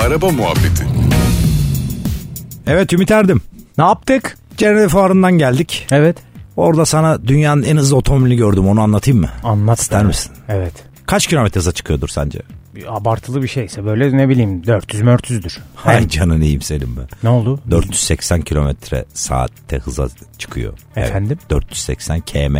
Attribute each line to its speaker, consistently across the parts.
Speaker 1: Araba Muhabbeti
Speaker 2: Evet Ümit Erdim. Ne yaptık? Cenevre Fuarı'ndan geldik.
Speaker 3: Evet.
Speaker 2: Orada sana dünyanın en hızlı otomobilini gördüm onu anlatayım mı?
Speaker 3: Anlat.
Speaker 2: İster
Speaker 3: bana.
Speaker 2: misin?
Speaker 3: Evet.
Speaker 2: Kaç kilometre hıza çıkıyordur sence?
Speaker 3: Bir abartılı bir şeyse böyle ne bileyim 400 mörtüzdür.
Speaker 2: Hay canın iyiyim Selim be.
Speaker 3: Ne oldu?
Speaker 2: 480 kilometre saatte hıza çıkıyor. Evet,
Speaker 3: Efendim?
Speaker 2: 480 km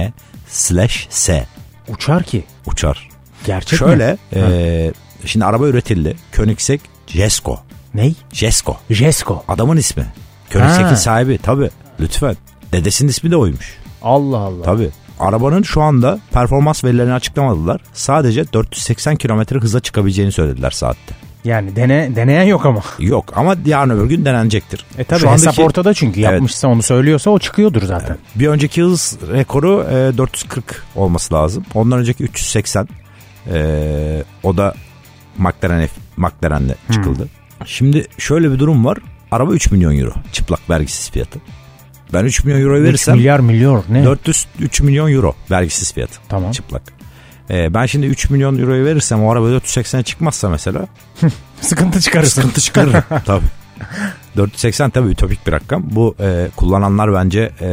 Speaker 2: slash s
Speaker 3: Uçar ki.
Speaker 2: uçar.
Speaker 3: Gerçek mi?
Speaker 2: Şöyle e, şimdi araba üretildi. Koenigsegg Jesko.
Speaker 3: Ney?
Speaker 2: Jesko.
Speaker 3: Jesko.
Speaker 2: Adamın ismi. Koenigsegg'in
Speaker 3: Ha.
Speaker 2: sahibi tabi. Lütfen. Dedesinin ismi de oymuş.
Speaker 3: Allah Allah.
Speaker 2: Tabi. Arabanın şu anda performans verilerini açıklamadılar. Sadece 480 kilometre hıza çıkabileceğini söylediler saatte.
Speaker 3: Yani dene, deneyen yok ama.
Speaker 2: Yok ama yarın öbür gün denenecektir.
Speaker 3: E tabi
Speaker 2: Şu
Speaker 3: hesap
Speaker 2: andaki-
Speaker 3: ortada çünkü
Speaker 2: Evet.
Speaker 3: yapmışsa onu söylüyorsa o çıkıyordur zaten.
Speaker 2: Bir önceki hız rekoru e, 440 olması lazım. Ondan önceki 380. E, o da McLaren F- McLaren'le
Speaker 3: Hmm.
Speaker 2: çıkıldı. Şimdi şöyle bir durum var. Araba 3 milyon euro çıplak vergisiz fiyatı. Ben 3 milyon euro
Speaker 3: 3
Speaker 2: verirsem
Speaker 3: milyar milyar ne?
Speaker 2: 403 milyon euro vergisiz fiyatı
Speaker 3: Tamam.
Speaker 2: çıplak. E, ben şimdi 3 milyon euroyu verirsem o araba 480'e çıkmazsa mesela
Speaker 3: Sıkıntı çıkarırsın.
Speaker 2: sıkıntı çıkarır. tabii. 480 tabii ütopik bir rakam. Bu e, kullananlar bence e,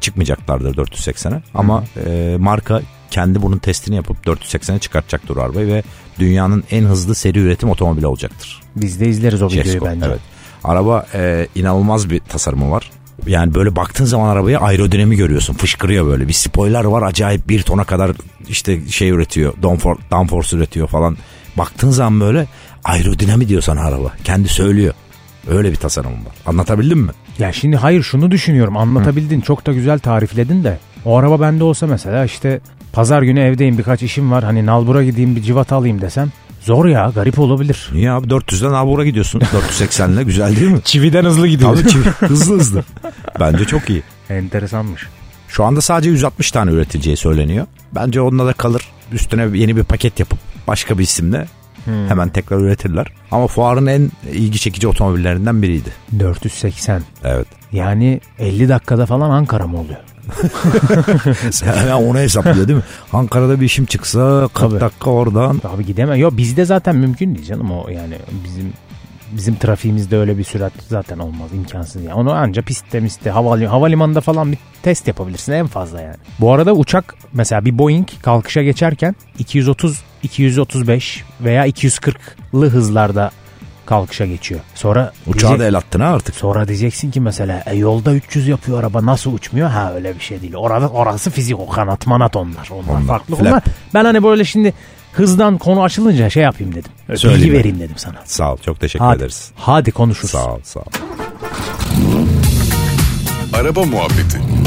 Speaker 2: çıkmayacaklardır 480'e. Ama e, marka kendi bunun testini yapıp 480'e çıkartacaktır o arabayı ve dünyanın en hızlı seri üretim otomobili olacaktır.
Speaker 3: Biz de izleriz o videoyu
Speaker 2: Jesko,
Speaker 3: bence.
Speaker 2: Evet. Araba e, inanılmaz bir tasarımı var. Yani böyle baktığın zaman arabaya aerodinami görüyorsun. Fışkırıyor böyle. Bir spoiler var acayip bir tona kadar işte şey üretiyor. Downforce, downforce üretiyor falan. Baktığın zaman böyle aerodinami diyor sana araba. Kendi söylüyor. Öyle bir tasarımım var. Anlatabildim mi?
Speaker 3: Ya şimdi hayır şunu düşünüyorum anlatabildin çok da güzel tarifledin de. O araba bende olsa mesela işte pazar günü evdeyim birkaç işim var hani nalbura gideyim bir civata alayım desem. Zor ya garip olabilir.
Speaker 2: Niye abi 400'den Abur'a gidiyorsun. 480'le güzel değil mi?
Speaker 3: Çividen hızlı gidiyor.
Speaker 2: Tabii ki hızlı hızlı. Bence çok iyi.
Speaker 3: Enteresanmış.
Speaker 2: Şu anda sadece 160 tane üretileceği söyleniyor. Bence onunla da kalır. Üstüne yeni bir paket yapıp başka bir isimle
Speaker 3: Hmm.
Speaker 2: hemen tekrar üretirler. Ama fuarın en ilgi çekici otomobillerinden biriydi.
Speaker 3: 480
Speaker 2: Evet.
Speaker 3: yani 50 dakikada falan Ankara mı oluyor?
Speaker 2: Hemen onu hesaplıyor değil mi? Ankara'da bir işim çıksa 40
Speaker 3: Tabii.
Speaker 2: dakika oradan.
Speaker 3: Abi gidemem. Yok bizde zaten mümkün değil canım o yani bizim bizim trafiğimizde öyle bir sürat zaten olmaz imkansız yani. Onu anca pistte miste havali, havalimanında falan bir test yapabilirsin en fazla yani. Bu arada uçak mesela bir Boeing kalkışa geçerken 230 235 veya 240'lı hızlarda kalkışa geçiyor. Sonra
Speaker 2: Uçağa da
Speaker 3: diyecek-
Speaker 2: el attın ha artık.
Speaker 3: sonra diyeceksin ki mesela e, yolda 300 yapıyor araba nasıl uçmuyor? Ha öyle bir şey değil. Orada orası fizik o kanat manat onlar. Onlar,
Speaker 2: Onlar,
Speaker 3: farklı.
Speaker 2: flap.
Speaker 3: Onlar ben hani böyle şimdi hızdan konu açılınca şey yapayım dedim.
Speaker 2: E, Söyleyeyim
Speaker 3: Bilgi
Speaker 2: ben.
Speaker 3: vereyim dedim sana.
Speaker 2: Sağ ol. Çok teşekkür
Speaker 3: Hadi,
Speaker 2: ederiz.
Speaker 3: hadi konuşuruz.
Speaker 2: Sağ ol sağ ol.
Speaker 1: Araba Muhabbeti